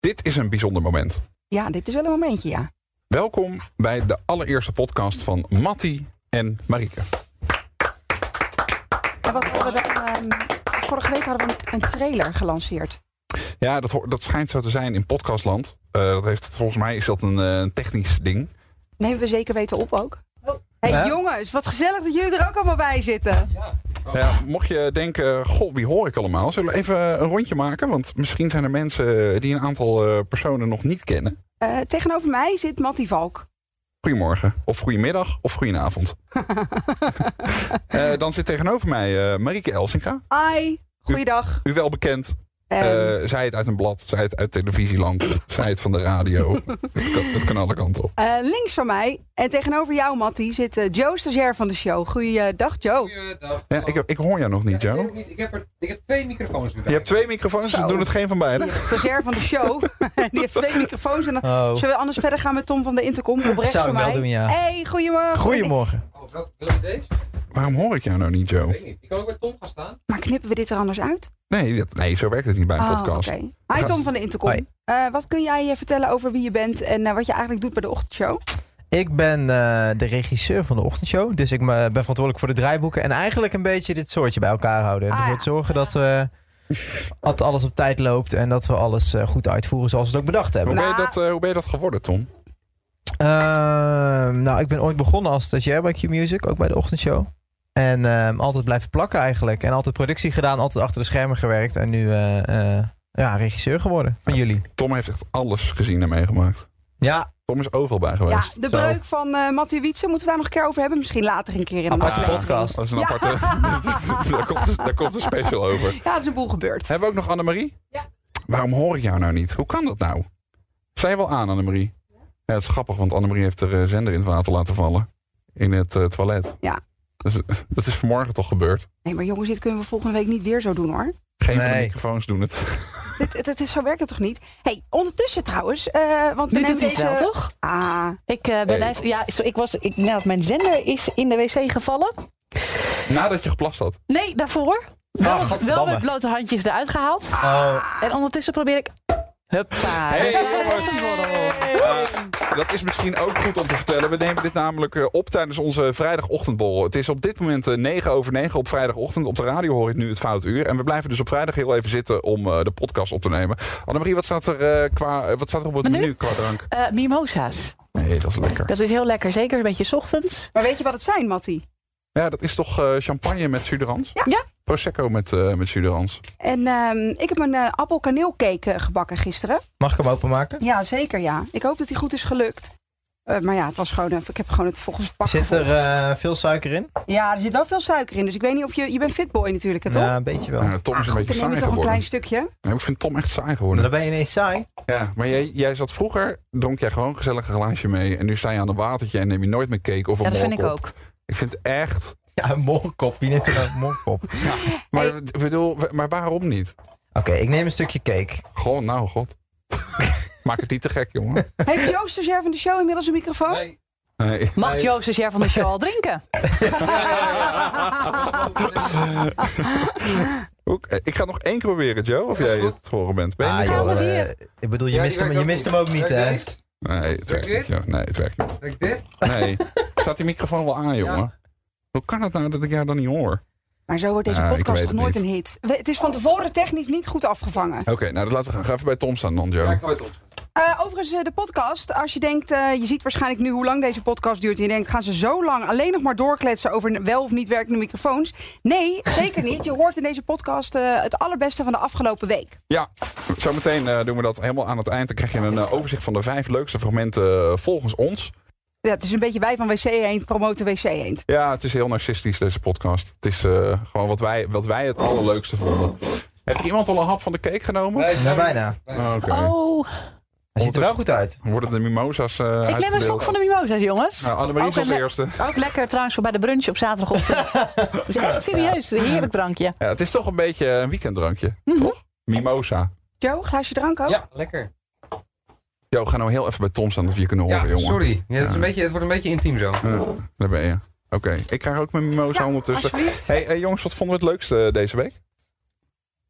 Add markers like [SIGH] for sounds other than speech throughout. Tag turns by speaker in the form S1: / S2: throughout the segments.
S1: Dit is een bijzonder moment.
S2: Ja, dit is wel een momentje, ja.
S1: Welkom bij de allereerste podcast van Matti en Marieke.
S2: En wat hadden we dan, ehm, vorige week hadden we een, een trailer gelanceerd.
S1: Ja, dat, ho- dat schijnt zo te zijn in podcastland. Eh, dat heeft, volgens mij is dat een eh, technisch ding.
S2: Nemen we zeker weten op ook. Hé hey,
S3: Ja.
S2: jongens, wat gezellig dat jullie er ook allemaal bij zitten.
S1: Ja, mocht je denken, goh, wie hoor ik allemaal? Zullen we even een rondje maken? Want misschien zijn er mensen die een aantal eh, personen nog niet kennen.
S2: Eh, tegenover mij zit Mattie Valk.
S1: Goedemorgen, of goedemiddag, of goedenavond. Eh, dan zit tegenover mij eh Marieke Elsinga.
S2: Hi, goeiedag.
S1: U wel bekend,
S2: Ehm,
S1: eh, zij het uit een blad, zij het uit
S2: [LAUGHS]
S1: televisieland, zij het van de radio. het, kan, het kan alle kanten op.
S2: eh, links van mij en tegenover jou, Mattie, zit eh, Joe Stagiair van de show. Goeiedag, Joe.
S3: Goeiedag.
S1: Ja, ik, ik hoor jou nog niet,
S3: Ja, ik
S1: Joe.
S3: weet het niet. Ik heb, er, ik heb twee microfoons nu bij
S1: Je hebt twee microfoons, dus
S2: Zo.
S1: we doen het geen van beide.
S2: Stagiair van de
S4: [LAUGHS]
S2: show. Die heeft twee microfoons. En dan...
S4: Oh,
S2: Zullen we anders verder gaan met Tom van de Intercom? Oprecht
S4: zou
S2: van
S4: ik wel
S2: mij. Eh,
S4: doen, ja.
S2: Hey, goedemorgen.
S4: goedemorgen.
S3: me. Oh, welke wil je deze? Ik
S1: Waarom hoor ik jou nou niet, Joe?
S3: weet niet. Ik kan ook bij Tom gaan staan.
S2: Maar knippen we dit er anders uit?
S1: Nee, dat, nee zo werkt het niet bij een
S2: Ah,
S1: podcast.
S2: oké. Hi Tom van de Intercom.
S4: Hoi.
S2: Eh, wat kun jij eh, vertellen over wie je bent en eh, wat je eigenlijk doet bij de ochtendshow?
S4: Ik ben eh, de regisseur van de ochtendshow, dus ik me- ben verantwoordelijk voor de draaiboeken en eigenlijk een beetje dit soortje bij elkaar houden. En
S2: Ah,
S4: ervoor
S2: ja.
S4: zorgen dat, we, dat alles op tijd loopt en dat we alles eh, goed uitvoeren zoals we het ook bedacht hebben.
S1: Hoe, ben je
S2: Nou.
S1: dat, eh, hoe ben je dat geworden, Tom?
S4: Ehm, nou, ik ben ooit begonnen als stagiair bij Q-Music, ook bij de ochtendshow. En ehm, altijd blijven plakken eigenlijk. En altijd productie gedaan, altijd achter de schermen gewerkt. En nu eh, eh, ja, regisseur geworden
S2: Ah.
S4: van jullie.
S1: Tom heeft echt alles gezien en meegemaakt.
S4: Ja,
S1: Tom is overal bij
S2: Ja,
S1: geweest.
S2: de
S4: Zo.
S2: breuk van eh Mattie Wietse. Moeten we daar nog een keer over hebben? Misschien later een keer in een
S4: Aparte
S2: aflevering.
S4: podcast.
S1: Dat is een
S2: Ja.
S1: aparte... [LAUGHS] daar, komt, daar komt een special over.
S2: Ja, er is een boel gebeurd.
S1: Hebben we ook nog Annemarie?
S2: Ja.
S1: Waarom hoor ik jou nou niet? Hoe kan dat nou? Zij wel aan, Annemarie. Ja, het is grappig, want Annemarie heeft er eh, zender in het water laten vallen. In het eh, toilet.
S2: Ja.
S1: Dus, [LAUGHS] eh, dat is vanmorgen toch gebeurd.
S2: Nee, maar jongens, dit kunnen we volgende week niet weer zo doen hoor.
S1: Geen van de
S4: Nee.
S1: microfoons doen het. [LAUGHS]
S2: dit, dit, dit is, zo werkt het toch niet? hey, ondertussen trouwens. eh want we
S5: Nu
S2: nemen
S5: doet hij het
S2: deze...
S5: wel, toch?
S2: Ah,
S5: Ik eh, ben
S1: Hey.
S5: even, ja, zo, ik was, ik, nou, mijn zender is in de wc gevallen.
S1: Nadat je geplast had.
S5: Nee, daarvoor.
S4: Ah,
S5: Wel, wel
S4: godverdamme.
S5: met blote handjes eruit gehaald.
S2: Ah.
S4: Oh,
S5: En ondertussen probeer ik... Huppa.
S1: Hey,
S5: Ja,
S1: jongens. Eh, dat is misschien ook goed om te vertellen. We nemen dit namelijk eh, op tijdens onze vrijdagochtendbol. Het is op dit moment eh, 9 over 9 op vrijdagochtend. Op de radio hoor ik nu het fout uur. En we blijven dus op vrijdag heel even zitten om eh, de podcast op te nemen. Annemarie, wat staat er, eh, qua, eh, wat staat er op het menu?
S5: Menu?
S1: qua drank?
S5: eh, mimosa's.
S1: Nee, dat is lekker.
S5: Dat is heel lekker. Zeker een beetje 's ochtends.
S2: maar weet je wat het zijn, Mattie?
S1: Ja, dat is toch eh, champagne met suderans?
S2: Ja.
S5: Ja.
S1: Prosecco met, eh met suderans.
S2: En ehm, ik heb een eh appelkaneelcake eh, gebakken gisteren.
S4: mag ik hem openmaken?
S2: Ja, zeker ja. Ik hoop dat die goed is gelukt. Eh, maar ja, het was gewoon, een- ik heb gewoon het volgens het pak
S4: Zit er
S2: gevolgd.
S4: eh, veel suiker in?
S2: Ja, er zit wel veel suiker in. Dus ik weet niet of je... Je bent fitboy natuurlijk, hè, toch?
S4: Ja, een beetje wel.
S1: Eh, Tom is een
S2: Ach,
S1: beetje
S2: dan neem
S1: saai
S2: je toch een
S1: geworden.
S2: klein stukje.
S1: Nee, ik vind Tom echt saai
S4: Maar
S1: geworden.
S4: dan ben je ineens saai.
S1: Ja, maar jij, jij zat vroeger, dronk jij gewoon gezellig een glaasje mee. En nu sta je aan een watertje en neem je nooit meer cake of een
S5: Ja, dat vind ik
S1: morkop.
S5: ook.
S1: Ik vind het echt.
S4: Ja, een morkop. Wie neemt er nou een morkop? [LAUGHS]
S1: Maar,
S2: Hey.
S1: ik bedoel, w- maar waarom niet?
S4: Oké, ik neem een stukje cake.
S1: Goh, nou god. [LAUGHS] Maak het niet te gek, jongen.
S2: Heeft Joost de Zer van de show inmiddels een microfoon? [LAUGHS]
S3: Nee.
S1: Nee.
S5: Mag Joost de Ger van de show al drinken?
S1: Ook- eh, Ik ga nog één keer proberen, Joe, of
S3: Dat is
S1: jij
S3: goed.
S1: het horen bent. Ben je
S4: Ah,
S1: niet al-
S4: joh,
S5: wat zie je?
S4: eh, ik bedoel, je
S3: Ja, die
S4: mist, hem,
S3: werkt
S4: je mist hem ook niet,
S3: Werkt
S4: hè?
S3: deze?
S1: Nee, het werkt
S3: Werkt
S1: niet.
S3: dit?
S1: joh. Nee, het werkt niet.
S3: Werkt dit?
S1: Nee. [LAUGHS] Staat die microfoon wel aan, jongen? Hoe kan het nou dat ik jou dan niet hoor?
S2: Maar zo wordt deze
S1: Ja, Ah, ik
S2: podcast
S1: weet
S2: toch
S1: het
S2: nooit
S1: niet.
S2: een hit? We- Het is van tevoren technisch niet goed afgevangen.
S1: Oké, nou dat laten we gaan. Ga even bij Tom staan dan,
S3: Ja,
S1: Joe.
S3: ik ga het op.
S2: Eh, overigens, eh, de podcast. Als je denkt, eh, je ziet waarschijnlijk nu hoe lang deze podcast duurt. En je denkt, gaan ze zo lang alleen nog maar doorkletsen over wel of niet werkende microfoons? Nee, zeker niet. Je hoort in deze podcast eh, het allerbeste van de afgelopen week.
S1: Ja, zometeen eh, doen we dat helemaal aan het eind. Dan krijg je een eh, overzicht van de vijf leukste fragmenten eh, volgens ons.
S2: Ja, het is een beetje wij van WC Eend promoten WC Eend.
S1: Ja, het is heel narcistisch, deze podcast. Het is eh, gewoon wat wij, wat wij het allerleukste vonden. Heeft iemand al een hap van de cake genomen?
S3: Nee,
S4: Nou,
S3: sorry.
S4: bijna.
S1: Oh, Oké.
S5: Oh,
S4: Hij ziet er wel goed uit.
S1: Worden de mimosa's eh
S5: ik neem een
S1: uitgedeeld?
S5: slok van de Oh, mimosa's, jongens.
S1: Nou, Annemarie is
S5: Ook
S1: als
S5: een-
S1: eerste.
S5: Ook lekker trouwens voor bij de brunch op zaterdagochtend. Dat is echt serieus. Een heerlijk drankje.
S1: Ja, het is toch een beetje een weekenddrankje,
S5: Mhm.
S1: toch? Mimosa.
S2: Joe, glaasje drank ook?
S3: Ja,
S4: Oh,
S3: lekker.
S1: Jo, ga nou heel even bij Tom staan dat we je kunnen horen,
S3: Ja,
S1: jongen.
S3: sorry. Ja, dat is
S1: Ja.
S3: een beetje, het wordt een beetje intiem zo.
S1: Eh, daar ben je. Oké, ik krijg ook mijn mimosa
S2: Ja,
S1: ondertussen.
S2: alsjeblieft.
S1: hey, eh, jongens, wat vonden we het leukste eh, deze week?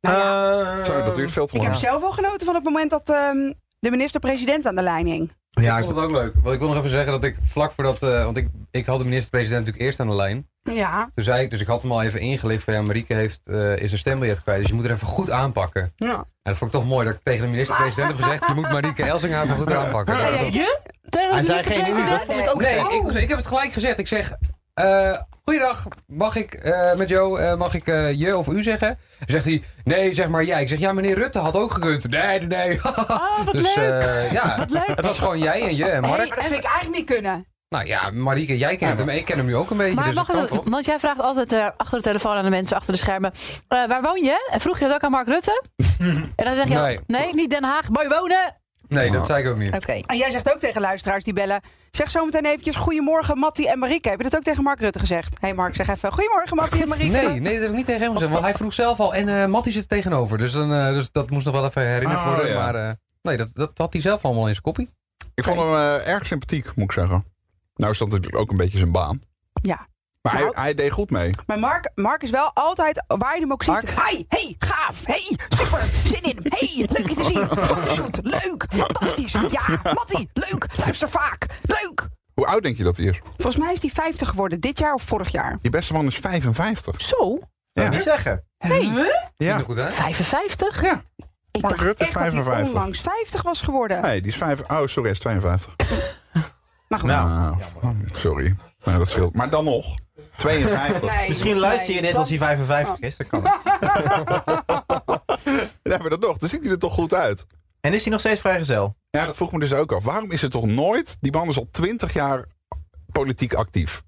S1: Eh,
S2: Nou ja,
S1: Sorry, dat duurt veel te
S2: ik
S1: lang.
S2: heb zelf wel genoten van het moment dat ehm, de minister-president aan de lijn hing.
S4: Ja,
S3: ik
S4: ik-
S3: vond het ook leuk. Want ik wil nog even zeggen dat ik vlak voordat... eh, want ik, ik had de minister-president natuurlijk eerst aan de lijn.
S2: Ja,
S3: Toen zei ik, dus ik had hem al even ingelicht van ja, Marieke heeft, eh, is een stembiljet kwijt. Dus je moet er even goed aanpakken. En
S2: ja.
S3: dat vond ik toch mooi dat ik tegen de minister-president heb gezegd... je moet Marieke Elsinga even goed aanpakken.
S2: Ja,
S3: Dat
S2: ja,
S3: was-
S5: Je? Tegen
S4: Hij
S5: de
S4: zei geen
S5: minister-president?
S4: nieuws, dat [LAUGHS] vond
S3: Nee,
S5: Oh.
S3: ik, ik heb het gelijk gezegd. Ik zeg, eh goeiedag, mag ik eh, met jou, eh, mag ik eh, je of u zeggen? Dan zegt hij, nee, zeg maar jij. Ik zeg, ja, meneer Rutte had ook gekund. Nee, nee, [LAUGHS] nee.
S5: Oh, wat
S3: dus
S5: leuk.
S3: eh, ja,
S5: Wat leuk.
S3: het was gewoon jij en je en Mark.
S2: Hey, dat vind ik eigenlijk niet kunnen.
S3: Nou ja, Marieke, jij kent hem en ik ken hem nu ook een beetje.
S5: Maar
S3: dus
S5: mag
S3: dat kan
S5: ik-
S3: toch?
S5: want jij vraagt altijd eh, achter de telefoon aan de mensen achter de schermen. eh, waar woon je? En vroeg je dat ook aan Mark Rutte? en dan zeg je,
S3: Nee.
S5: nee, niet Den Haag, waar je wonen.
S3: Nee, dat zei ik ook niet.
S5: Oké.
S2: En jij zegt ook tegen luisteraars die bellen... zeg zo meteen eventjes goedemorgen Mattie en Marieke. Heb je dat ook tegen Mark Rutte gezegd? hey Mark, zeg even goedemorgen Mattie en Marieke.
S3: Nee, nee, dat heb ik niet tegen hem gezegd. Want hij vroeg zelf al. En eh Mattie zit er tegenover. Dus, dan, eh, dus dat moest nog wel even herinnerd
S1: Oh,
S3: worden.
S1: ja.
S3: Maar eh, nee, dat, dat had hij zelf allemaal in zijn koppie.
S1: Ik vond hem eh, erg sympathiek, moet ik zeggen. Nou is dat natuurlijk ook een beetje zijn baan.
S2: Ja.
S1: Maar hij,
S2: Nou.
S1: hij deed goed mee.
S2: Maar Mark, Mark is wel altijd, waar je hem ook ziet...
S3: Mark?
S2: Hi, hey, gaaf, hey, super, zin in, hey, leuk je te zien, fotoshoot, leuk, fantastisch, ja, Mattie, leuk, luister vaak, leuk.
S1: Hoe oud denk je dat hij is?
S2: Volgens mij is die 50 geworden, dit jaar of vorig jaar.
S1: Die beste man is 55.
S5: Zo,
S4: dat
S1: Ja.
S4: niet zeggen.
S3: Ja.
S1: Ja.
S3: Goed, hè?
S5: 55?
S1: ja.
S2: Ik
S1: Mark
S2: dacht
S1: Rutte is
S2: echt dat hij
S1: 55.
S2: onlangs 50 was geworden.
S1: Nee, die is 5. Oh, sorry, hij is 52.
S2: Maar goed.
S4: Nou,
S1: Ah, sorry. Nou, dat scheelt. Maar dan nog. 52.
S2: Nee,
S4: misschien luister je
S2: nee,
S4: dit als hij 55 is. Dat kan. ook.
S1: Nee, maar dat nog. [LAUGHS] Dan ziet hij er toch goed uit.
S4: En is hij nog steeds vrijgezel?
S1: Ja, dat vroeg me dus ook af. Waarom is het toch nooit... Die man is al 20 jaar politiek actief.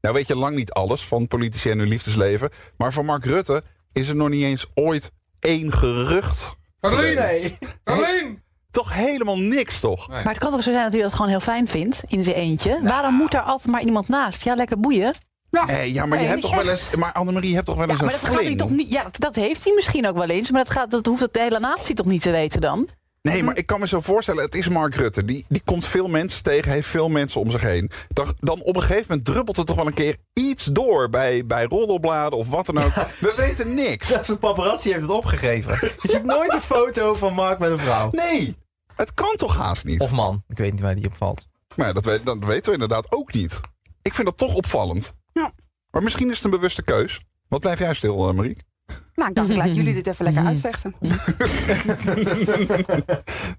S1: Nou weet je lang niet alles van politici en hun liefdesleven. Maar van Mark Rutte is er nog niet eens ooit één gerucht.
S3: Carolien!
S4: Nee.
S3: Carolien!
S1: Toch helemaal niks, toch?
S5: Maar het kan toch zo zijn dat hij dat gewoon heel fijn vindt in zijn eentje? Waarom moet daar altijd maar iemand naast? Ja, lekker boeien.
S2: Ja.
S1: Hé, ja, maar je
S2: Nee,
S1: hebt toch
S2: echt.
S1: wel eens... Maar Annemarie, je hebt toch wel
S5: Ja,
S1: eens
S5: maar
S1: een
S5: dat gaat hij
S1: fling?
S5: toch niet. Ja, dat, dat heeft hij misschien ook wel eens. Maar dat, gaat, dat hoeft de hele natie toch niet te weten dan?
S1: Nee,
S5: Hm?
S1: maar ik kan me zo voorstellen, het is Mark Rutte. Die, die komt veel mensen tegen, heeft veel mensen om zich heen. Dan, dan op een gegeven moment druppelt het toch wel een keer iets door bij, bij roddelbladen of wat dan ook. We weten niks.
S4: [LAUGHS] Zelfs een paparazzi heeft het opgegeven. Je ziet nooit een foto van Mark met een vrouw.
S1: Nee, het kan toch haast niet?
S4: Of man. Ik weet niet waar die op valt.
S1: Maar ja, dat, we- dat weten we inderdaad ook niet. Ik vind dat toch opvallend.
S2: Ja.
S1: Maar misschien is het een bewuste keus. Wat blijf jij stil, eh, Marie? [LAUGHS]
S2: Nou, ik dacht, ik laat jullie dit even lekker uitvechten.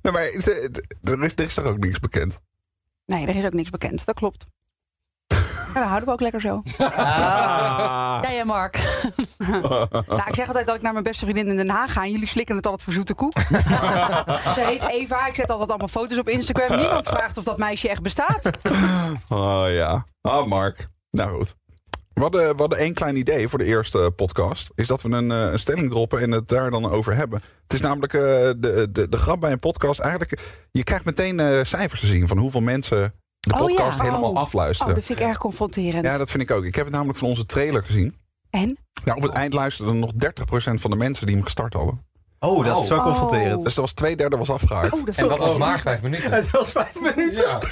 S1: Nee, maar is er, er is, er is toch ook niks bekend?
S2: Nee, er is ook niks bekend. Dat klopt. Ja, we houden we ook lekker zo.
S4: Ah.
S5: Ja, ja, Mark.
S2: Nou, ik zeg altijd dat ik naar mijn beste vriendin in Den Haag ga. En jullie slikken het altijd voor zoete koek. Ze heet Eva. Ik zet altijd allemaal foto's op Instagram. Niemand vraagt of dat meisje echt bestaat.
S1: [LAUGHS] Oh ja. Ah, Mark. Nou goed. We hadden, we hadden één klein idee voor de eerste podcast. Is dat we een, eh, een stelling droppen en het daar dan over hebben. Het is namelijk eh, de, de, de grap bij een podcast. Eigenlijk, je krijgt meteen eh, cijfers te zien van hoeveel mensen de
S5: Oh ja.
S1: podcast helemaal
S2: Oh. Oh,
S1: afluisteren.
S2: dat vind ik erg confronterend.
S1: ja, dat vind ik ook. Ik heb het namelijk van onze trailer gezien.
S2: En? oh,
S1: Nou, op het eind luisterden nog 30% van de mensen die hem gestart hadden.
S4: Oh, dat is wel
S2: Oh.
S4: confronterend.
S1: Dus dat was twee derde was afgehaakt.
S2: Oh, dat
S3: En
S2: vind
S3: wat
S2: ik
S3: was
S2: echt-
S3: maar vijf minuten?
S4: [LAUGHS] Het was vijf minuten.
S3: Ja.
S1: [LAUGHS]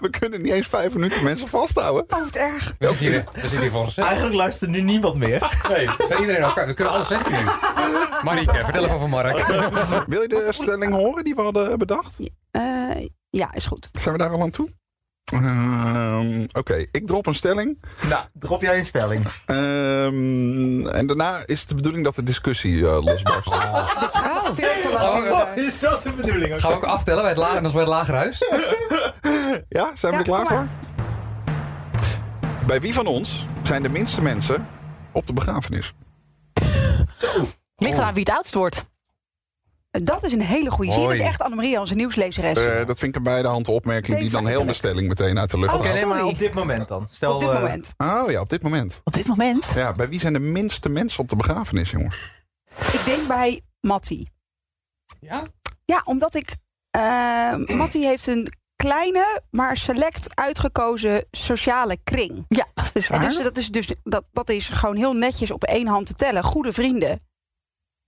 S1: We kunnen niet eens vijf minuten mensen vasthouden.
S2: Oh, wat erg.
S3: We zitten hier, we zitten hier voor onszelf.
S4: Eigenlijk luistert nu niemand meer.
S3: Nee, we zijn iedereen elkaar. We kunnen alles zeggen nu. Marieke, vertel even van Mark.
S5: Ah,
S1: Wil je de stelling horen die we hadden bedacht?
S2: Eh, ja, is goed.
S1: Zijn we daar al aan toe? Ehm, Oké, ik drop een stelling.
S4: Nou, drop jij een stelling.
S1: Ehm, en daarna is het de bedoeling dat de discussie eh, losbarst.
S2: Dit gaat veel te lang.
S3: Oh,
S2: worden.
S4: is dat de bedoeling?
S3: Gaan we ook aftellen bij het, lager, als bij het lagerhuis?
S1: Ja, zijn we
S2: Ja,
S1: er klaar
S2: kom
S1: voor? Bij wie van ons zijn de minste mensen op de begrafenis?
S5: Ligt eraan wie het oudst wordt.
S2: Dat is een hele goede zin. Dat is
S3: Hoi.
S2: echt Annemarie, onze nieuwslezeres.
S1: Eh, dat vind ik een bij de hand opmerking die dan heel de stelling meteen uit de lucht
S2: Oh,
S1: haalt.
S4: Oké, nee, maar
S2: Sorry.
S4: op dit moment dan. Stel,
S2: op dit
S4: eh,
S2: moment.
S1: Oh ja, op dit moment.
S5: Op dit moment.
S1: Ja, bij wie zijn de minste mensen op de begrafenis, jongens?
S2: Ik denk bij Mattie.
S3: Ja?
S2: Ja, omdat ik... eh [CLEARS THROAT] Mattie heeft een kleine, maar select uitgekozen sociale kring.
S5: Ja, dat is
S2: En
S5: waar.
S2: dus
S5: [LAUGHS]
S2: dat is, dus, dat, dat is gewoon heel netjes op één hand te tellen. Goede vrienden.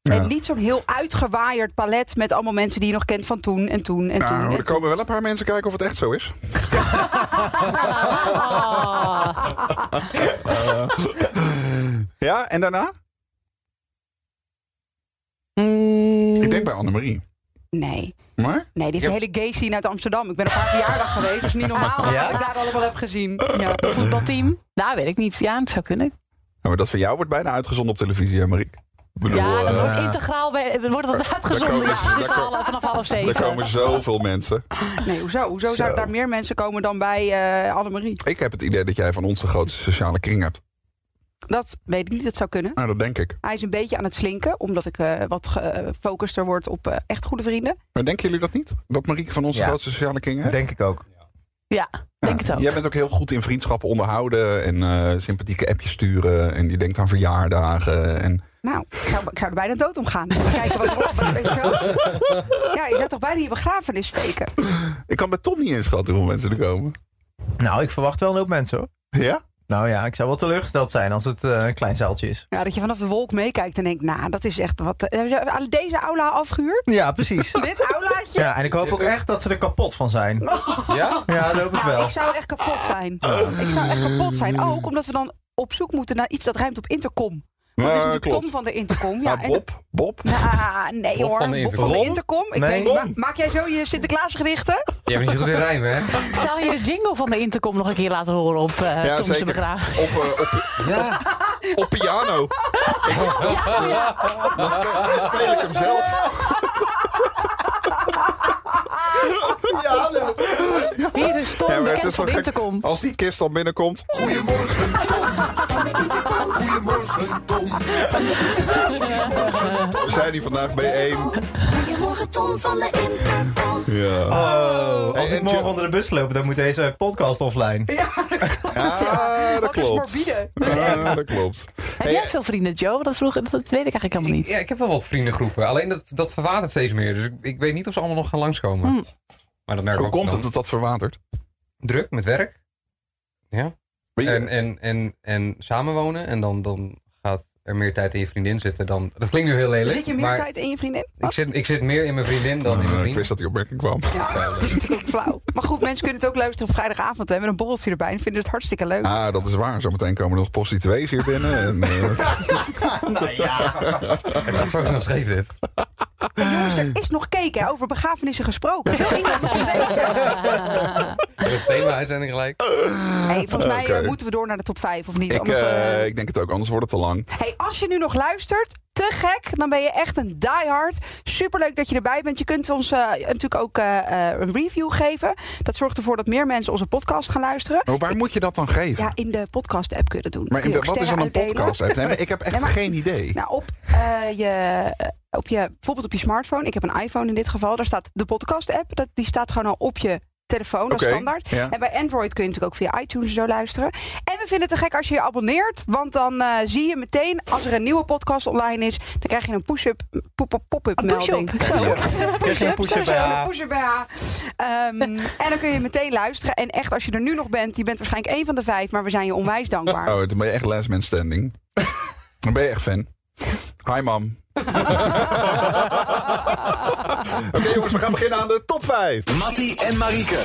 S2: En niet zo'n heel uitgewaaierd palet met allemaal mensen die je nog kent van toen en toen en toen.
S1: Nou,
S2: en
S1: er komen wel een paar mensen kijken of het echt zo [LAUGHS] is.
S5: Ah.
S1: Eh. Ja, en daarna?
S5: Mm,
S1: Ik denk bij Annemarie.
S2: Nee.
S1: Maar?
S2: Nee, die heeft
S3: Ja.
S2: een hele gay scene uit Amsterdam. Ik ben op haar verjaardag geweest. Dat is niet normaal
S4: Ja?
S2: wat ik daar allemaal heb gezien. Ja.
S5: Voetbalteam? Nou, weet ik niet. Ja, dat zou kunnen.
S1: Ja, maar dat van jou wordt bijna uitgezonden op televisie, hè, Mariek? Ik bedoel,
S5: Ja, dat
S1: eh,
S5: wordt integraal bij, wordt dat uitgezonden.
S1: komen ze-
S5: Ja, tussen
S1: daar komen-
S5: alle, eh, vanaf half
S1: er
S5: zeven.
S1: komen zoveel mensen.
S2: Nee, hoezo? Hoezo
S4: Zo.
S2: zouden daar meer mensen komen dan bij eh Annemarie?
S1: Ik heb het idee dat jij van ons de grootste sociale kring hebt.
S2: Dat weet ik niet, dat zou kunnen.
S1: Nou, dat denk ik.
S2: Hij is een beetje aan het slinken, omdat ik eh, wat gefocuster word op eh, echt goede vrienden.
S1: Maar denken jullie dat niet? Dat Marieke van ons de
S4: Ja.
S1: grootste sociale kring heeft?
S4: Denk ik ook.
S5: Denk het ook.
S1: Jij bent ook heel goed in vriendschappen onderhouden en eh, sympathieke appjes sturen. En die denkt aan verjaardagen. En...
S2: Nou, ik zou, ik zou er bijna dood om gaan. [LAUGHS] Even kijken wat erop is, weet je wel. Ja, je zou toch bijna je begrafenis faken?
S1: [LAUGHS] Ik kan bij Tom niet inschatten hoeveel mensen er komen.
S4: Nou, ik verwacht wel een hoop mensen hoor.
S1: Ja?
S4: Nou ja, ik zou wel teleurgesteld zijn als het eh, een klein zaaltje is.
S2: Ja, Nou, dat je vanaf de wolk meekijkt en denkt, nou, dat is echt wat... eh, hebben ze aan Deze aula afgehuurd?
S4: Ja, precies.
S2: Dit aulaatje?
S4: [LAUGHS] Ja, en ik hoop ook echt dat ze er kapot van zijn.
S3: Ja?
S4: Ja, dat hoop ik
S2: Oh. Nou,
S4: wel.
S2: ik zou echt kapot zijn. Ik zou echt kapot zijn. Ook omdat we dan op zoek moeten naar iets dat ruimt op intercom. Dat is
S1: Eh,
S2: natuurlijk
S1: klopt.
S2: Tom van de intercom. Ja,
S1: Maar
S2: en-
S1: Bob, Bob,
S2: Nou, nee
S3: Bob
S2: hoor.
S3: van de
S2: Bob van
S3: intercom.
S2: de
S4: Ron?
S2: intercom. Ik
S4: Nee.
S2: weet, niet, ma- maak jij zo je Sinterklaasgerichten?
S3: Je bent niet goed in rijmen, hè?
S5: Zou je de jingle van de intercom nog een keer laten horen op eh
S1: Ja,
S5: Tom's
S1: zeker.
S5: begrafenis?
S1: op, eh, op,
S3: Ja.
S1: op piano. Dan speel, dan speel ik hem zelf.
S5: Hier is Tom,
S1: Ja, maar
S5: de
S1: het
S5: kent
S1: is
S5: van
S1: wel
S5: de
S1: gek.
S5: intercom.
S1: Als die kist dan binnenkomt. Goedemorgen, Tom. Goedemorgen, Tom. We zijn hier vandaag bij één.
S6: Goedemorgen Tom van de Intercom.
S1: Ja.
S4: Oh, als
S1: Hey,
S4: ik
S1: en
S4: morgen
S1: Jo-
S4: onder de bus loop, dan moet deze podcast offline.
S2: Ja,
S1: Ja, dat
S2: dat is
S1: klopt.
S2: morbide.
S1: Ja, dat klopt.
S5: Heb jij veel vrienden, Joe? Dat, vroeg, dat weet ik eigenlijk helemaal
S3: Ik,
S5: niet.
S3: ja, ik heb wel wat vriendengroepen. Alleen dat, dat verwatert steeds meer. Dus ik, ik weet niet of ze allemaal nog gaan langskomen.
S2: Hmm.
S5: Hm.
S3: Maar dat merk ik
S1: Hoe
S3: ook
S1: komt
S3: dan.
S1: het dat dat verwatert?
S3: Druk met werk
S1: Weet je-
S3: en, en, en, en samenwonen. En dan, dan gaat er meer tijd in je vriendin zitten dan... Dat klinkt nu heel lelijk.
S2: Zit je meer
S3: maar
S2: tijd in je vriendin?
S3: Ik
S2: Wat?
S3: zit, ik zit meer in mijn vriendin dan in
S1: Eh,
S3: mijn
S1: ik
S3: vriend.
S1: wist dat die opmerking kwam.
S2: Ja, Oh. [LAUGHS] dat is natuurlijk flauw. Maar goed, mensen kunnen het ook luisteren op vrijdagavond hè, met een borreltje erbij. En vinden het hartstikke leuk.
S1: Ah, dat is waar. Zometeen komen er nog prostituees hier binnen. En, eh, dat-
S3: [LAUGHS] Het gaat zo snel scheef
S1: [LAUGHS]
S3: dit.
S2: Jongens, Dus er is nog cake hè, over begrafenissen
S1: [LAUGHS]
S2: gesproken. Wil iemand nog een beetje?
S3: Het thema uitzending gelijk.
S2: Hey, volgens mij eh,
S1: Oké.
S2: moeten we door naar de top 5 of
S1: [LAUGHS]
S2: niet?
S1: ik,
S2: Anders, eh,
S1: eh, ik denk het ook, anders wordt het te lang.
S2: Hey, als je nu nog luistert, te gek, dan ben je echt een diehard. Superleuk dat je erbij bent. Je kunt ons eh, natuurlijk ook eh, eh, een review geven. Dat zorgt ervoor dat meer mensen onze podcast gaan luisteren.
S1: Maar waar moet je dat dan geven?
S2: Ja, in de podcast-app kunnen doen.
S1: maar
S2: Kun je ook
S1: wat is dan een
S2: sterren uitdelen.
S1: podcast? app? Nee, maar ik heb echt
S2: Nee, maar-
S1: geen idee.
S2: Nou, op, eh, je, eh, op je, bijvoorbeeld op je smartphone. Ik heb een iPhone in dit geval. Daar staat de podcast-app. Dat- Die staat gewoon al op je telefoon. Dat is
S1: Oké,
S2: standaard.
S1: ja.
S2: En bij Android kun je natuurlijk ook via iTunes en zo luisteren. En we vinden het te gek als je je abonneert. Want dan eh, zie je meteen, als er een nieuwe podcast online is... dan krijg je een push-up, pop-up pop-up
S5: Een push-up.
S2: melding.
S5: Zo.
S4: Push up,
S2: Zo, zo, een push-up BH.
S5: [LAUGHS]
S2: Ehm, en dan kun je meteen luisteren. En echt, als je er nu nog bent... je bent waarschijnlijk één van de vijf... maar we zijn je onwijs dankbaar.
S1: Oh, dan ben je echt last man standing. dan ben je echt fan. Hi, mam. Oké, jongens, we gaan beginnen aan de top 5.
S7: Mattie en Marieke.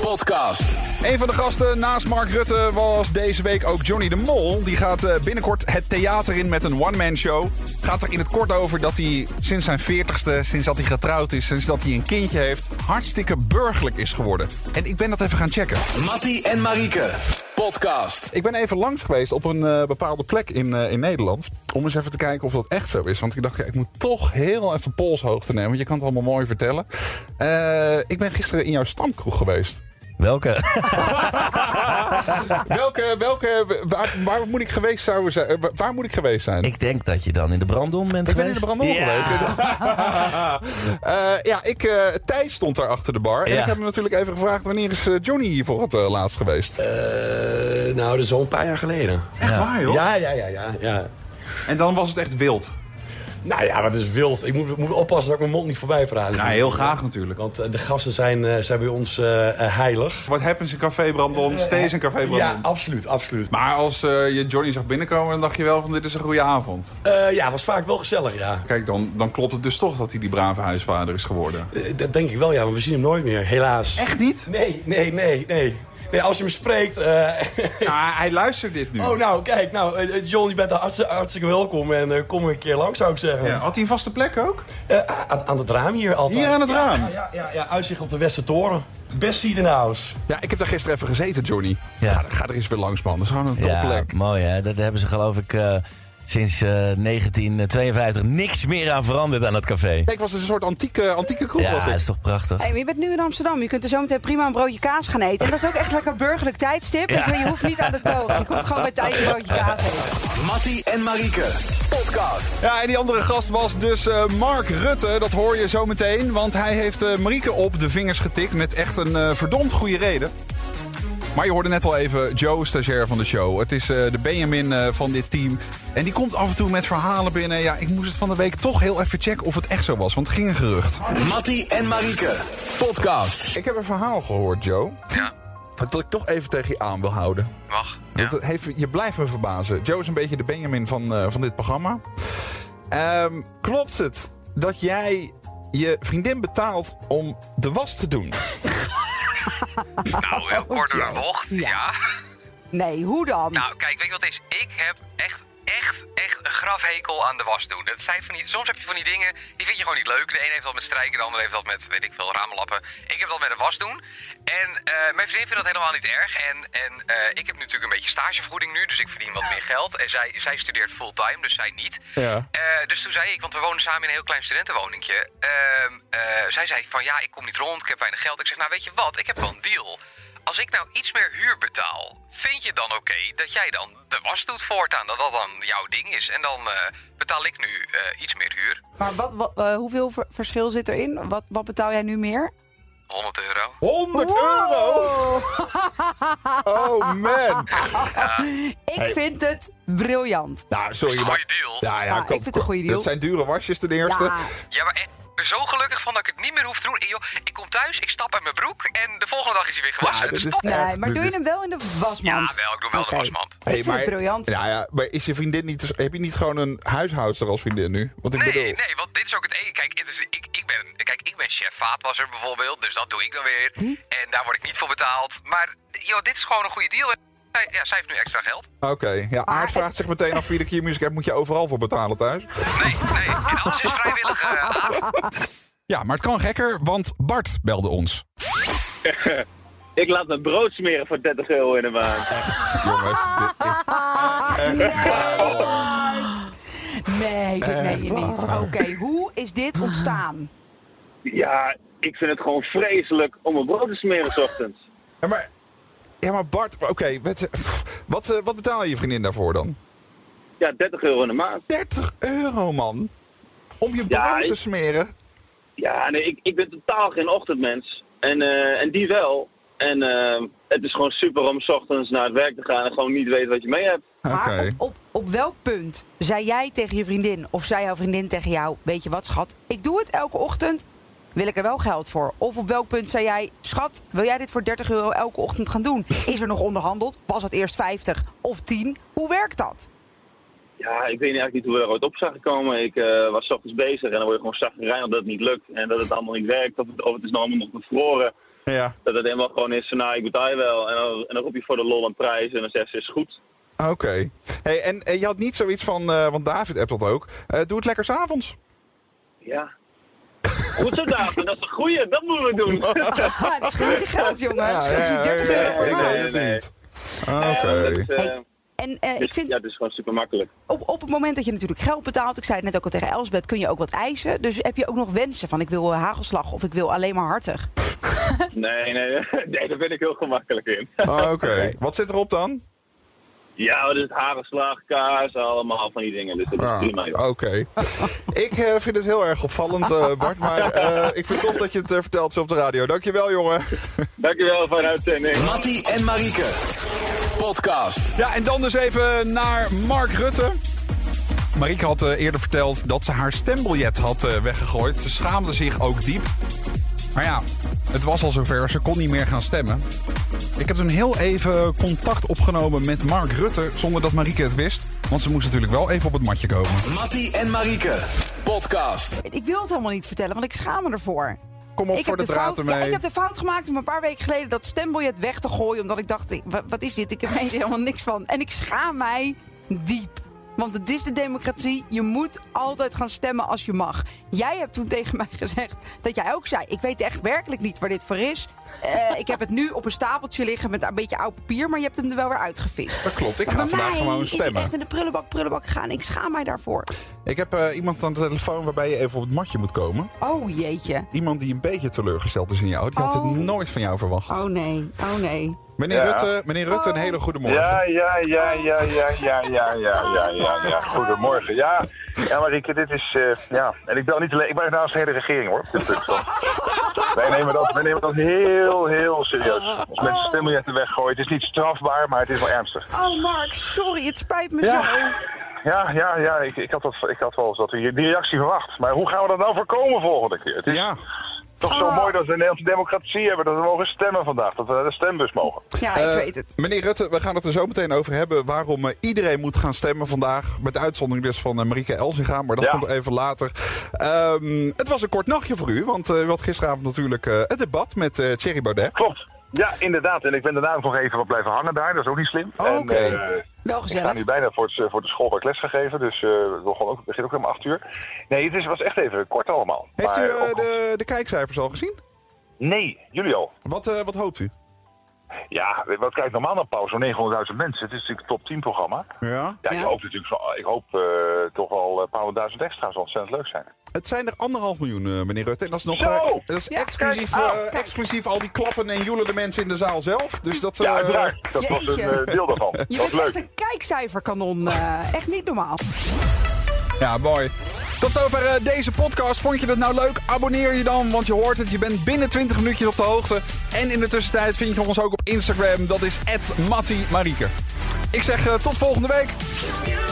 S7: Podcast.
S1: Een van de gasten naast Mark Rutte was deze week ook Johnny de Mol. Die gaat eh, binnenkort het theater in met een one-man show. Gaat er in het kort over dat hij sinds zijn 40ste, sinds dat hij getrouwd is, sinds dat hij een kindje heeft, hartstikke burgerlijk is geworden. En ik ben dat even gaan checken.
S7: Mattie en Marieke. Podcast.
S1: Ik ben even langs geweest op een eh, bepaalde plek in, eh, in Nederland. Om eens even te kijken of dat echt zo is. Want ik dacht, ja, ik moet toch heel even polshoogte nemen. Want je kan het allemaal mooi vertellen. Eh, ik ben gisteren in jouw stamkroeg geweest.
S4: Welke?
S1: [LAUGHS] Welke, welke, waar, waar moet ik geweest zouden zijn? Eh, Waar moet ik geweest zijn?
S8: Ik denk dat je dan in de brandon bent
S1: Ik ben in
S8: geweest.
S1: de brandon geweest.
S8: [LAUGHS]
S1: Eh, ja, ik, eh, Thijs stond daar achter de bar. En
S8: Ja.
S1: ik heb hem natuurlijk even gevraagd... wanneer is eh, Johnny hiervoor het eh, laatst geweest?
S9: Eh, nou, dat is al een paar jaar geleden.
S1: Echt waar,
S9: Ja, ja, ja, ja, ja.
S1: En dan was het echt wild.
S9: Nou ja, wat is wild. Ik moet, ik moet oppassen dat ik mijn mond niet voorbij praat.
S1: natuurlijk.
S9: Want eh, de gasten zijn, eh, zijn bij ons eh, eh, heilig.
S1: Wat happens in Café Brandon?
S10: Eh,
S1: steeds een Café
S9: Ja, absoluut, absoluut.
S1: Maar als eh, je Johnny zag binnenkomen, dan dacht je wel van dit is een goede avond.
S9: Eh, ja, was vaak wel gezellig, ja.
S1: Kijk, dan, dan klopt het dus toch dat hij die brave huisvader is geworden.
S9: Eh, dat denk ik wel, ja, want we zien hem nooit meer, helaas.
S1: Echt niet?
S9: Nee, nee, nee, nee.
S10: Nee, als je hem spreekt. eh, [LAUGHS]
S1: Ja, Nou, hij luistert dit nu.
S10: oh, nou, kijk, nou, eh, eh, John, je bent daar hartstikke, hartstikke welkom. En eh, kom een keer lang, zou ik zeggen.
S1: Ja, had hij een vaste plek ook?
S10: Eh, aan, aan het raam hier altijd.
S1: Hier aan het
S10: Ja,
S1: raam?
S10: Ja, ja, ja, ja, uitzicht op de Westertoren. Best seat in the house.
S1: Ja, ik heb daar gisteren even gezeten, Johnny.
S11: Ja.
S1: Ga, ga er eens weer langs, man. Dat is gewoon een topplek.
S11: mooi hè. Dat hebben ze geloof ik eh, sinds eh, 1952 niks meer aan veranderd aan dat café.
S1: Kijk, was het een soort antieke, antieke kroeg was
S11: Ja,
S1: het.
S11: dat is toch prachtig.
S2: Hey, maar je bent nu in Amsterdam. Je kunt er zo meteen prima een broodje kaas gaan eten. En dat is ook echt lekker burgerlijk tijdstip. Ik bedoel, Je hoeft niet aan de toog. Je komt gewoon met tijd een broodje kaas eten.
S7: Mattie en Marieke. Podcast.
S1: Ja, en die andere gast was dus eh, Mark Rutte. Dat hoor je zo meteen. Want hij heeft eh Marieke op de vingers getikt met echt een eh, verdomd goede reden. Maar je hoorde net al even Joe, stagiair van de show. Het is eh, de Benjamin eh, van dit team. En die komt af en toe met verhalen binnen. Ja, ik moest het van de week toch heel even checken of het echt zo was. Want het ging een gerucht.
S7: Mattie en Marieke. Podcast.
S1: Ik heb een verhaal gehoord, Joe.
S3: Ja,
S1: Dat ik toch even tegen je aan wil houden.
S3: mag. Ja.
S1: Want het heeft, je blijft me verbazen. Joe is een beetje de Benjamin van, eh, van dit programma. Ehm, klopt het dat jij je vriendin betaalt om de was te doen?
S3: Nou, heel kort door de bocht. Ja.
S2: Nee, hoe dan?
S3: Nou, kijk, weet je wat het is? Ik heb echt, echt, echt een grafhekel aan de was doen. Dat zijn van die, soms heb je van die dingen, die vind je gewoon niet leuk. De een heeft dat met strijken, de ander heeft dat met, weet ik veel, ramenlappen. Ik heb dat met de was doen. En eh, mijn vriendin vindt dat helemaal niet erg. En, en eh, ik heb natuurlijk een beetje stagevergoeding nu, dus ik verdien wat meer geld. En zij, zij studeert fulltime, dus zij niet.
S1: Ja.
S3: Eh, dus toen zei ik, want we wonen samen in een heel klein studentenwoningje. Ehm, eh, zij zei van ja, ik kom niet rond, ik heb weinig geld. Ik zeg, nou weet je wat, ik heb wel een deal. Als ik nou iets meer huur betaal, vind je dan oké dat jij dan de was doet voortaan? Dat dat dan jouw ding is. En dan eh, betaal ik nu eh, iets meer huur.
S2: Maar wat, wat, eh, hoeveel ver- verschil zit erin? Wat, wat betaal jij nu meer?
S3: 100 euro.
S1: 100 euro! Oh man!
S2: Ik vind het briljant.
S1: Nou,
S3: Dat is
S1: sorry.
S3: een
S1: maar-
S3: goeie deal.
S1: Ja,
S2: Ja, ik vind het een goede deal.
S1: Dat zijn dure wasjes ten eerste.
S2: Ja,
S3: Ja, maar echt, ik ben zo gelukkig van dat ik het niet meer hoef te doen. En joh, ik kom thuis, ik stap uit mijn broek en de volgende dag is hij weer gewassen.
S1: dit
S3: Het is
S1: is
S3: top.
S1: echt-
S2: nee, maar
S1: dit
S2: doe
S1: is-
S2: je hem wel in de wasmand?
S3: Dus- Ja, wel, ik doe wel
S2: Oké.
S3: de wasmand.
S2: Ik vind het briljant.
S1: Ja, ja, maar is je vriendin niet... Heb je niet gewoon een huishoudster als vriendin nu? Wat ik bedoel.
S3: Nee, nee, want dit is ook het enige. Kijk, het is, ik, ik ben, kijk, ik ben chef vaatwasser bijvoorbeeld, dus dat doe ik dan weer. En daar word ik niet voor betaald. Maar joh, dit is gewoon een goede deal. Zij- Ja, zij heeft nu extra geld.
S1: Oké. Ja, Aard vraagt zich meteen af wie de keer muziek hebt. Moet je overal voor betalen thuis?
S3: Nee, nee, en alles is vrijwillig. eh, Aad.
S1: Ja, maar het kan gekker, want Bart belde ons.
S12: Ik laat mijn brood smeren voor 30 euro in de maand.
S1: Jongens, dit is
S2: Nee, dat meen je niet. Oké, hoe is dit ontstaan?
S12: Ja, ik vind het gewoon vreselijk om mijn brood te smeren 's ochtends.
S1: Ja, maar, ja, maar Bart, oké, wat, wat, eh, wat betaal je je vriendin daarvoor dan?
S12: Ja, 30 euro in de maand.
S1: 30 euro, man. Om je brood
S12: Ja,
S1: te
S12: ik-
S1: smeren.
S12: Ja, nee, ik, ik ben totaal geen ochtendmens. En, eh, en die wel. En eh, het is gewoon super om 's ochtends naar het werk te gaan en gewoon niet weten wat je mee hebt.
S2: Maar
S1: Oké.
S2: op, op, op welk punt zei jij tegen je vriendin of zei jouw vriendin tegen jou... weet je wat, schat, ik doe het elke ochtend, wil ik er wel geld voor? Of op welk punt zei jij, schat, wil jij dit voor 30 euro elke ochtend gaan doen? Is er nog onderhandeld? Was het eerst 50 of 10? Hoe werkt dat?
S12: Ja, ik weet eigenlijk niet hoe we eruit op zijn gekomen. Ik eh, was 's ochtends bezig en dan word je gewoon zagrijnig dat het niet lukt. En dat het allemaal niet werkt. Of het, of het is nou allemaal nog bevroren.
S1: Ja,
S12: Dat het helemaal gewoon is van, nou, ik betaal je wel. En dan, en dan roep je voor de lol een prijs en dan zegt ze, is goed.
S1: oké. Hey, en, eh, je had niet zoiets van, eh, want David appt dat ook. eh, doe het lekker s'avonds.
S12: Ja. Goed zo, David. Dat is een goeie. Dat moeten we
S2: [LAUGHS]
S12: doen.
S2: Ah, het scheelt je geld, [LAUGHS] jongen. Het scheelt je 30
S1: ja,
S2: euro per
S1: ik
S2: maand.
S1: weet het
S12: Nee,
S1: niet. Oké.
S12: [LAUGHS] Dat is, eh,
S2: En eh, ik
S12: dus-
S2: vind,
S12: Ja, het is gewoon super makkelijk.
S2: op, op het moment dat je natuurlijk geld betaalt, ik zei het net ook al tegen Elsbeth, kun je ook wat eisen. Dus heb je ook nog wensen van ik wil eh, hagelslag of ik wil alleen maar hartig.
S12: Nee, nee, [LAUGHS] nee, daar ben ik heel gemakkelijk in. [LAUGHS]
S1: Ah, Oké. [LAUGHS] Wat zit erop dan?
S12: Ja, dat is harenslag, kaas, allemaal van die dingen. Dus dat is
S1: Ah,
S12: prima. joh.
S1: Oké. [LAUGHS] ik eh, vind het heel erg opvallend, eh, Bart. Maar eh, ik vind het tof dat je het eh, vertelt zo op de radio. Dankjewel, jongen.
S12: Dankjewel voor de uitzending.
S7: Mattie en Marieke. Podcast.
S1: Ja, en dan dus even naar Mark Rutte. Marieke had eh, eerder verteld dat ze haar stembiljet had eh, weggegooid. Ze schaamde zich ook diep. Maar ja, het was al zover. Ze kon niet meer gaan stemmen. Ik heb toen heel even contact opgenomen met Mark Rutte... zonder dat Marieke het wist. Want ze moest natuurlijk wel even op het matje komen.
S7: Mattie en Marieke. Podcast.
S2: Ik wil het helemaal niet vertellen, want ik schaam me ervoor.
S1: kom op
S2: ik
S1: voor de
S2: heb
S1: draad
S2: fout, ja,
S1: ermee.
S2: ik heb de fout gemaakt om een paar weken geleden dat stembiljet weg te gooien. Omdat ik dacht, ik- wa- wat is dit? Ik weet er [LAUGHS] helemaal niks van. En ik schaam mij diep. Want het is de democratie. Je moet altijd gaan stemmen als je mag. Jij hebt toen tegen mij gezegd dat jij ook zei... ik weet echt werkelijk niet waar dit voor is. Eh, ik heb het nu op een stapeltje liggen met een beetje oud papier... maar je hebt hem er wel weer uitgevist.
S1: Dat klopt, ik ga
S2: Bij
S1: vandaag
S2: mij
S1: gewoon
S2: is het
S1: stemmen.
S2: echt in de prullenbak, prullenbak gaan. Ik schaam mij daarvoor.
S1: Ik heb eh, iemand aan de telefoon waarbij je even op het matje moet komen.
S2: Oh jeetje.
S1: Iemand die een beetje teleurgesteld is in jou. Die had
S2: Oh.
S1: het nooit van jou verwacht.
S2: Oh nee, oh nee.
S1: Meneer,
S11: Ja.
S1: Rutte, meneer Rutte, een hele goede morgen.
S11: Ja, ja, ja, ja, ja, ja, ja, ja, ja, ja, ja. Goedemorgen. Ja, ja Marieke, dit is... eh, ja, en ik bel niet alleen... Ik ben namens de hele regering, hoor. Dit punt zo. Wij nemen, dat, wij nemen dat heel, heel serieus. Als mensen stembiljetten weggooien, het is niet strafbaar, maar het is wel ernstig.
S2: Oh Mark, sorry, het spijt me
S11: Ja.
S2: zo.
S11: Ja, ja, ja, ik, ik, had, dat, ik had wel eens dat, die die reactie verwacht. Maar hoe gaan we dat nou voorkomen volgende keer? Het is toch zo mooi dat we een Nederlandse democratie hebben, dat we mogen stemmen vandaag, dat we naar de stembus mogen.
S2: Ja,
S1: Eh, Meneer Rutte, we gaan het er zo meteen over hebben waarom eh, iedereen moet gaan stemmen vandaag. Met uitzondering dus van eh, Marieke Elzinga, maar dat komt even later. Ehm, het was een kort nachtje voor u, want eh, u had gisteravond natuurlijk eh, het debat met eh, Thierry Baudet.
S11: Klopt. Ja, inderdaad. En ik ben daarna ook nog even wat blijven hangen daar. Dat is ook niet slim.
S1: Oké.
S11: En, eh,
S2: Wel
S11: Ik sta nu bijna voor, het, voor de school waar ik les ga geven. Dus eh we begon ook, het begint ook om acht uur. Nee, het is, was echt even kort allemaal.
S1: Heeft u
S11: Maar
S1: eh,
S11: ook-
S1: de, de kijkcijfers al gezien?
S11: Nee, jullie al.
S1: Wat, eh, wat hoopt u?
S11: Ja, wat kijkt normaal naar pauze? Zo'n 900.000 mensen. Het is natuurlijk een top 10 programma.
S1: Ja.
S11: Ja, ik hoop natuurlijk zo- ik hoop, eh, toch wel een paar honderdduizend extra's. zal ontzettend leuk zijn.
S1: Het zijn er anderhalf miljoen, eh, meneer Rutte. En dat is nog
S11: Zo!
S1: eh, dat is
S11: Ja,
S1: exclusief,
S11: kijk,
S1: eh,
S11: ah, kijk.
S1: exclusief al die klappen en joelen de mensen in de zaal zelf. Dus dat,
S11: Ja,
S1: eh,
S11: uiteraard. Dat was een eh, deel daarvan.
S2: Je
S11: Dat
S2: bent
S11: was
S2: echt
S11: leuk.
S2: een kijkcijferkanon. eh, echt niet normaal.
S1: Ja, mooi. Tot zover eh, deze podcast. Vond je dat nou leuk? Abonneer je dan, want je hoort het. Je bent binnen 20 minuutjes op de hoogte. En in de tussentijd vind je ons ook op Instagram. Dat is @mattie_marieke. Ik zeg eh, tot volgende week.